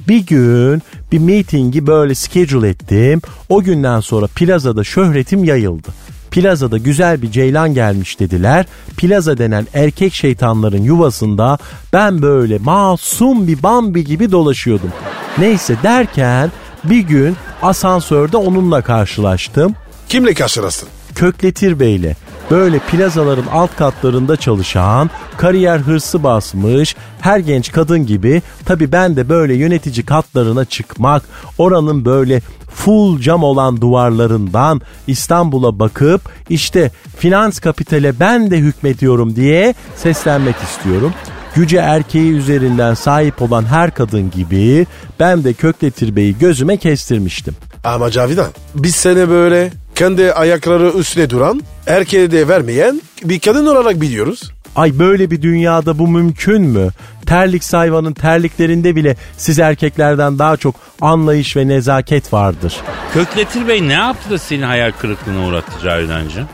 Bir gün bir meetingi böyle schedule ettim. O günden sonra plazada şöhretim yayıldı. Plazada güzel bir ceylan gelmiş dediler. Plaza denen erkek şeytanların yuvasında ben böyle masum bir Bambi gibi dolaşıyordum. Neyse derken bir gün asansörde onunla karşılaştım.
Kimle karşılaştın?
Kökletir Bey'le böyle plazaların alt katlarında çalışan, kariyer hırsı basmış, her genç kadın gibi tabi ben de böyle yönetici katlarına çıkmak, oranın böyle full cam olan duvarlarından İstanbul'a bakıp işte finans kapitale ben de hükmediyorum diye seslenmek istiyorum. Güce erkeği üzerinden sahip olan her kadın gibi ben de kökletir beyi gözüme kestirmiştim.
Ama Cavidan biz seni böyle kendi ayakları üstüne duran, erkeğe de vermeyen bir kadın olarak biliyoruz.
Ay böyle bir dünyada bu mümkün mü? Terlik hayvanın terliklerinde bile siz erkeklerden daha çok anlayış ve nezaket vardır.
Kökletir Bey ne yaptı da senin hayal kırıklığına uğrattı Cavidancığım?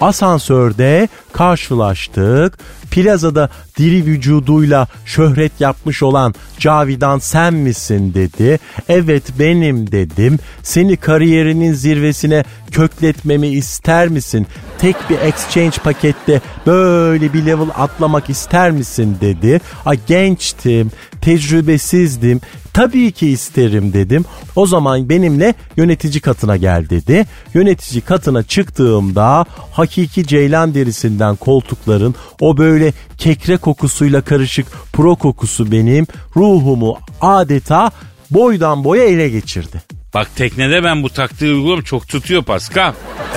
Asansörde karşılaştık. Plazada diri vücuduyla şöhret yapmış olan Cavidan sen misin dedi. Evet benim dedim. Seni kariyerinin zirvesine kökletmemi ister misin? Tek bir exchange pakette böyle bir level atlamak ister misin dedi. Ay gençtim, tecrübesizdim. Tabii ki isterim dedim. O zaman benimle yönetici katına gel dedi. Yönetici katına çıktığımda hakiki ceylan derisinden koltukların o böyle kekre kokusuyla karışık pro kokusu benim ruhumu adeta boydan boya ele geçirdi.
Bak teknede ben bu taktiği uyguluyorum çok tutuyor Pascal.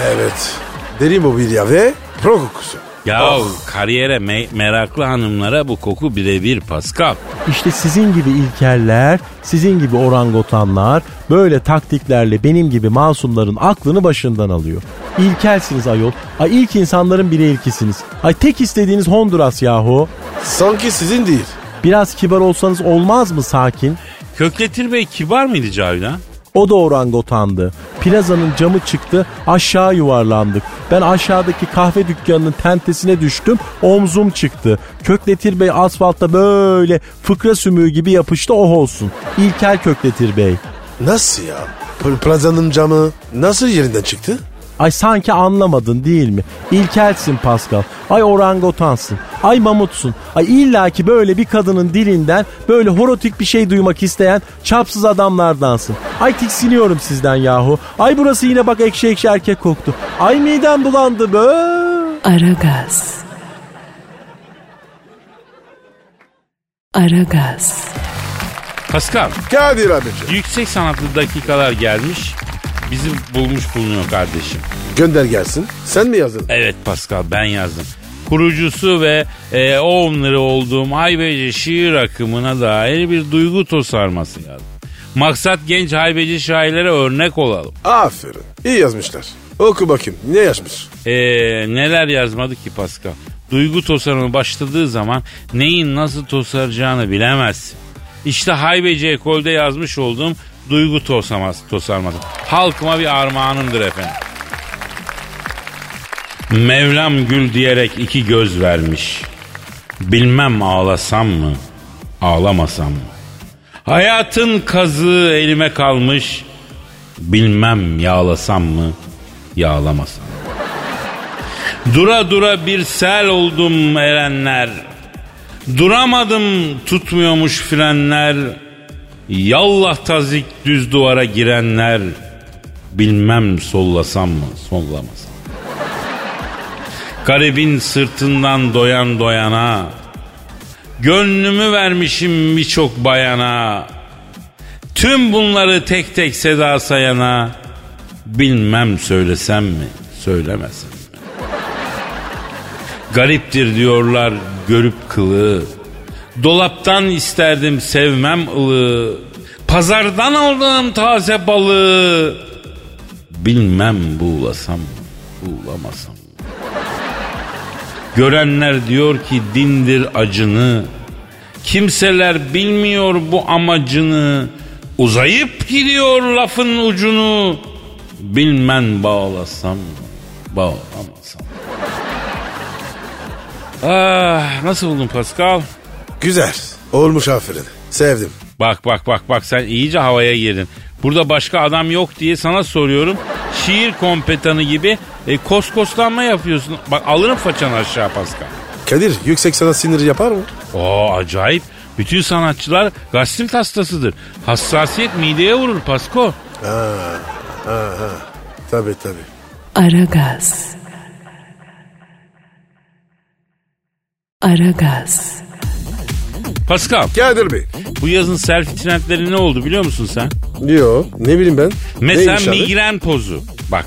Evet. Derin mobilya ve pro kokusu.
Ya kariyere me- meraklı hanımlara bu koku birebir Pascal.
İşte sizin gibi ilkeller, sizin gibi orangotanlar böyle taktiklerle benim gibi masumların aklını başından alıyor. İlkelsiniz ayol. Ay ilk insanların bile ilkisiniz. Ay tek istediğiniz Honduras yahu.
Sanki sizin değil.
Biraz kibar olsanız olmaz mı sakin?
Kökletir Bey kibar mıydı Cavidan?
O da orangotandı. Plazanın camı çıktı aşağı yuvarlandık. Ben aşağıdaki kahve dükkanının tentesine düştüm omzum çıktı. Kökletir Bey asfaltta böyle fıkra sümüğü gibi yapıştı oh olsun. İlkel Kökletir Bey.
Nasıl ya? Pl- Plazanın camı nasıl yerinden çıktı?
Ay sanki anlamadın değil mi? İlkelsin Pascal. Ay orangotansın. Ay mamutsun. Ay illaki böyle bir kadının dilinden böyle horotik bir şey duymak isteyen çapsız adamlardansın. Ay tiksiniyorum sizden yahu. Ay burası yine bak ekşi ekşi erkek koktu. Ay midem bulandı be.
Aragaz. Aragaz.
Pascal
Kadir abici.
yüksek sanatlı dakikalar gelmiş bizi bulmuş bulunuyor kardeşim.
Gönder gelsin. Sen mi yazdın?
Evet Pascal ben yazdım. Kurucusu ve e, owner'ı olduğum haybeci şiir akımına dair bir duygu tosarması yazdım. Maksat genç haybeci şairlere örnek olalım.
Aferin. İyi yazmışlar. Oku bakayım. Ne yazmış?
Ee, neler yazmadı ki Pascal? Duygu tosarımı başladığı zaman neyin nasıl tosaracağını bilemezsin. İşte Haybeci Ekol'de yazmış olduğum duygu tosaması, tosarması. Halkıma bir armağanımdır efendim. Mevlam gül diyerek iki göz vermiş. Bilmem ağlasam mı, ağlamasam mı? Hayatın kazığı elime kalmış. Bilmem yağlasam mı, yağlamasam mı? Dura dura bir sel oldum erenler. Duramadım tutmuyormuş frenler. Yallah tazik düz duvara girenler. Bilmem sollasam mı sollamasam. mı? Garibin sırtından doyan doyana. Gönlümü vermişim birçok bayana. Tüm bunları tek tek seda sayana. Bilmem söylesem mi söylemesem. Gariptir diyorlar görüp kılığı. Dolaptan isterdim sevmem ılığı. Pazardan aldığım taze balığı. Bilmem buğulasam mı, buğulamasam mı? Görenler diyor ki dindir acını. Kimseler bilmiyor bu amacını. Uzayıp gidiyor lafın ucunu. Bilmem bağlasam mı, bağlamasam mı? Ah, nasıl buldun Pascal?
Güzel. Olmuş aferin. Sevdim.
Bak bak bak bak sen iyice havaya girdin. Burada başka adam yok diye sana soruyorum. Şiir kompetanı gibi e, koskoslanma yapıyorsun. Bak alırım façanı aşağı Pascal.
Kadir yüksek sana sinir yapar mı?
Oo acayip. Bütün sanatçılar gastrit hastasıdır. Hassasiyet mideye vurur Pasko.
Tabii tabii.
Aragaz. Aragaz.
Pascal
Kadir Bey.
bu yazın selfie trendleri ne oldu biliyor musun sen?
Yo ne bileyim ben.
Mesela
Neymiş abi?
migren pozu. Bak.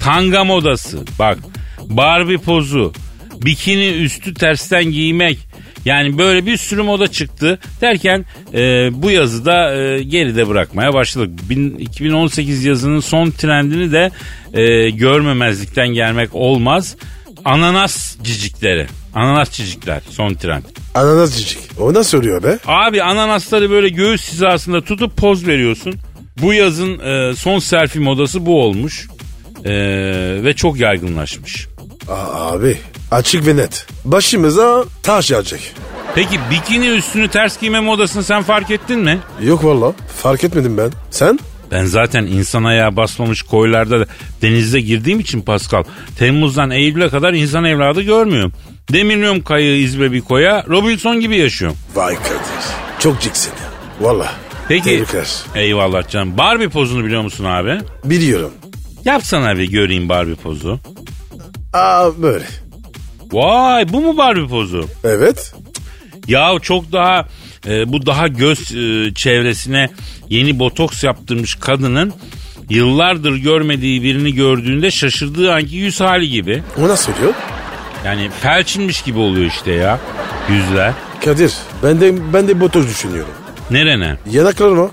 Tanga modası. Bak. Barbie pozu. Bikini üstü tersten giymek. Yani böyle bir sürü moda çıktı derken e, bu yazıda e, geride bırakmaya başladık. Bin- 2018 yazının son trendini de e, görmemezlikten gelmek olmaz. Ananas cicikleri. Ananas cicikler son trend.
Ananas cicik. O nasıl oluyor be?
Abi ananasları böyle göğüs hizasında tutup poz veriyorsun. Bu yazın e, son selfie modası bu olmuş. E, ve çok yaygınlaşmış.
Aa, abi açık ve net. Başımıza taş yağacak.
Peki bikini üstünü ters giyme modasını sen fark ettin mi?
Yok valla fark etmedim ben. Sen?
Ben zaten insan ayağı basmamış koylarda da denize girdiğim için Pascal. Temmuz'dan Eylül'e kadar insan evladı görmüyorum. Demirliyorum kayığı izbe bir koya. Robinson gibi yaşıyorum.
Vay kardeş. Çok ciksin ya. Valla.
Peki.
Tebrikler.
Eyvallah canım. Barbie pozunu biliyor musun abi?
Biliyorum.
Yapsana bir göreyim Barbie pozu.
Aa böyle.
Vay bu mu Barbie pozu?
Evet.
Ya çok daha e, bu daha göz e, çevresine yeni botoks yaptırmış kadının yıllardır görmediği birini gördüğünde şaşırdığı anki yüz hali gibi.
O nasıl oluyor?
Yani felçinmiş gibi oluyor işte ya yüzler.
Kadir ben de, ben de botoks düşünüyorum.
Nerene?
Yanaklarıma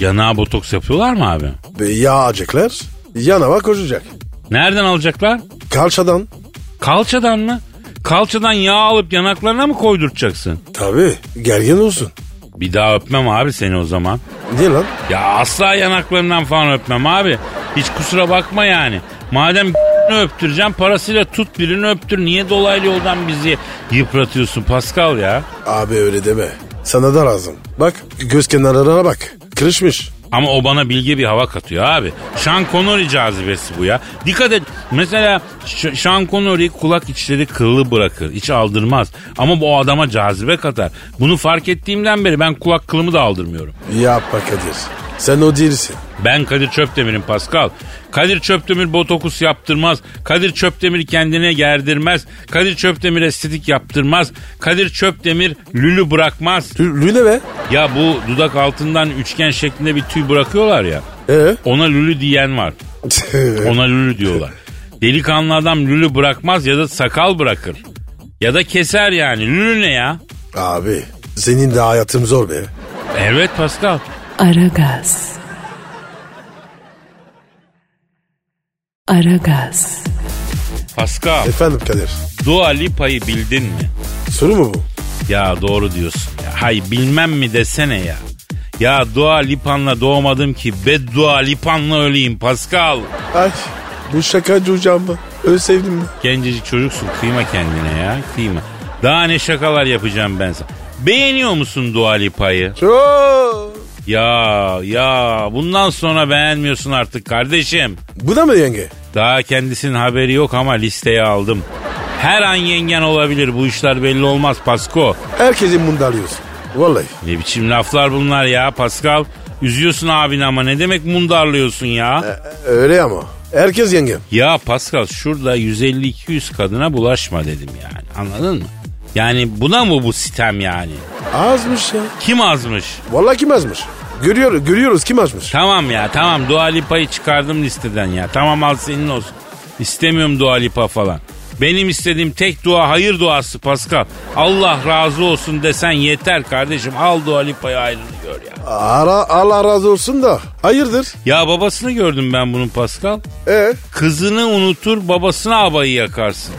Yanağa botoks yapıyorlar mı abi?
ve yağacaklar. Yanava koşacak.
Nereden alacaklar?
Kalçadan.
Kalçadan mı? Kalçadan yağ alıp yanaklarına mı koydurtacaksın?
Tabii gergin olsun.
Bir daha öpmem abi seni o zaman.
Niye lan?
Ya asla yanaklarından falan öpmem abi. Hiç kusura bakma yani. Madem öptüreceğim parasıyla tut birini öptür. Niye dolaylı yoldan bizi yıpratıyorsun Pascal ya?
Abi öyle deme. Sana da lazım. Bak göz kenarlarına bak. Kırışmış.
Ama o bana bilge bir hava katıyor abi. Sean Connery cazibesi bu ya. Dikkat et. Mesela Ş- Sean Connery kulak içleri kıllı bırakır. Hiç aldırmaz. Ama bu adama cazibe katar. Bunu fark ettiğimden beri ben kulak kılımı da aldırmıyorum.
Yapma Kadir. Sen o değilsin.
Ben Kadir Çöpdemir'im Pascal. Kadir Çöpdemir botokus yaptırmaz. Kadir Çöpdemir kendine gerdirmez. Kadir Çöpdemir estetik yaptırmaz. Kadir Çöpdemir lülü bırakmaz.
Lü- Lüle be.
Ya bu dudak altından üçgen şeklinde bir tüy bırakıyorlar ya.
Ee?
Ona lülü diyen var. Ona lülü diyorlar. Delikanlı adam lülü bırakmaz ya da sakal bırakır. Ya da keser yani. Lülü ne ya?
Abi senin de hayatın zor be.
Evet Pascal.
Aragaz. Aragaz.
Pascal.
Efendim Kadir.
Dua Lipa'yı bildin mi?
Soru mu bu?
Ya doğru diyorsun. Ya, hay bilmem mi desene ya. Ya Dua Lipan'la doğmadım ki beddua Lipan'la öleyim Pascal.
Ay bu şakacı hocam mı? Ölseydim mi?
Gencecik çocuksun kıyma kendine ya kıyma. Daha ne şakalar yapacağım ben sana. Beğeniyor musun Dua Lipa'yı?
Çok.
Ya ya bundan sonra beğenmiyorsun artık kardeşim.
Bu da mı yenge?
Daha kendisinin haberi yok ama listeye aldım. Her an yengen olabilir bu işler belli olmaz Pasko.
Herkesin bunu da alıyorsun. Vallahi.
Ne biçim laflar bunlar ya Pascal. Üzüyorsun abini ama ne demek mundarlıyorsun ya?
E, Öyle ama. Herkes yengem.
Ya Pascal şurada 150-200 kadına bulaşma dedim yani anladın mı? Yani buna mı bu sitem yani?
Azmış ya.
Kim azmış?
Vallahi kim azmış? Görüyor, görüyoruz kim azmış.
Tamam ya tamam Dua Lipa'yı çıkardım listeden ya. Tamam al senin olsun. İstemiyorum Dua Lipa falan. Benim istediğim tek dua hayır duası Pascal. Allah razı olsun desen yeter kardeşim. Al Dua Lipa'yı hayrını gör ya.
Ara, Allah razı olsun da. Hayırdır?
Ya babasını gördüm ben bunun Pascal.
E
Kızını unutur babasına abayı yakarsın.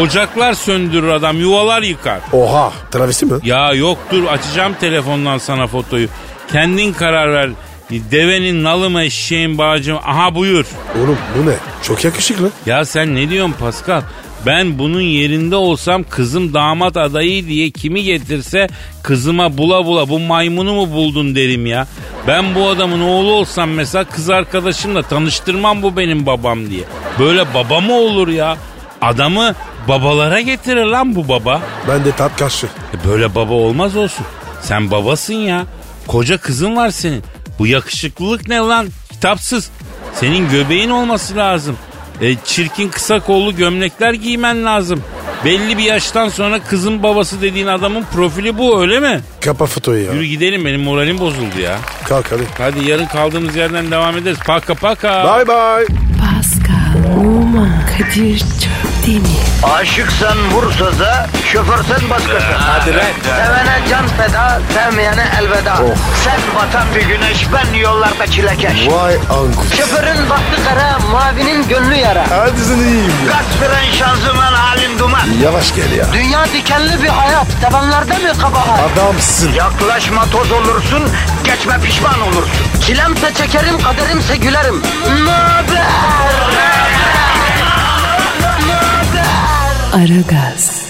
Ocaklar söndürür adam yuvalar yıkar.
Oha. Travesti mi?
Ya yok dur açacağım telefondan sana fotoyu. Kendin karar ver. Devenin nalı mı eşeğin bağcı mı? Aha buyur.
Oğlum bu ne? Çok yakışıklı.
Ya sen ne diyorsun Pascal? Ben bunun yerinde olsam kızım damat adayı diye kimi getirse kızıma bula bula bu maymunu mu buldun derim ya. Ben bu adamın oğlu olsam mesela kız arkadaşımla tanıştırmam bu benim babam diye. Böyle baba mı olur ya? Adamı babalara getirir lan bu baba.
Ben de tat kaçtı.
E Böyle baba olmaz olsun. Sen babasın ya. Koca kızın var senin. Bu yakışıklılık ne lan? Kitapsız. Senin göbeğin olması lazım. E, çirkin kısa kollu gömlekler giymen lazım. Belli bir yaştan sonra kızın babası dediğin adamın profili bu öyle mi?
Kapa fotoyu ya.
Yürü gidelim benim moralim bozuldu ya.
Kalk hadi.
Hadi yarın kaldığımız yerden devam ederiz. Paka paka.
Bye bye.
Pascal, Oman, Aman Kadir çok değil mi?
Aşıksan vursa da şoförsen başkasın. Hadi
lan.
Sevene can feda, sevmeyene elveda. Sen batan bir güneş, ben yollarda çilekeş.
Vay anku.
Şoförün baktı kara, mavinin gönlü yara.
Hadi sen iyiyim ya.
Kasperen şanzıman halin duman.
Yavaş gel ya.
Dünya dikenli bir hayat, sevenlerde mi kabahar?
Adamsın.
Yaklaşma toz olursun, geçme pişman olursun. Çilemse çekerim, kaderimse gülerim. Möber!
Aragaz.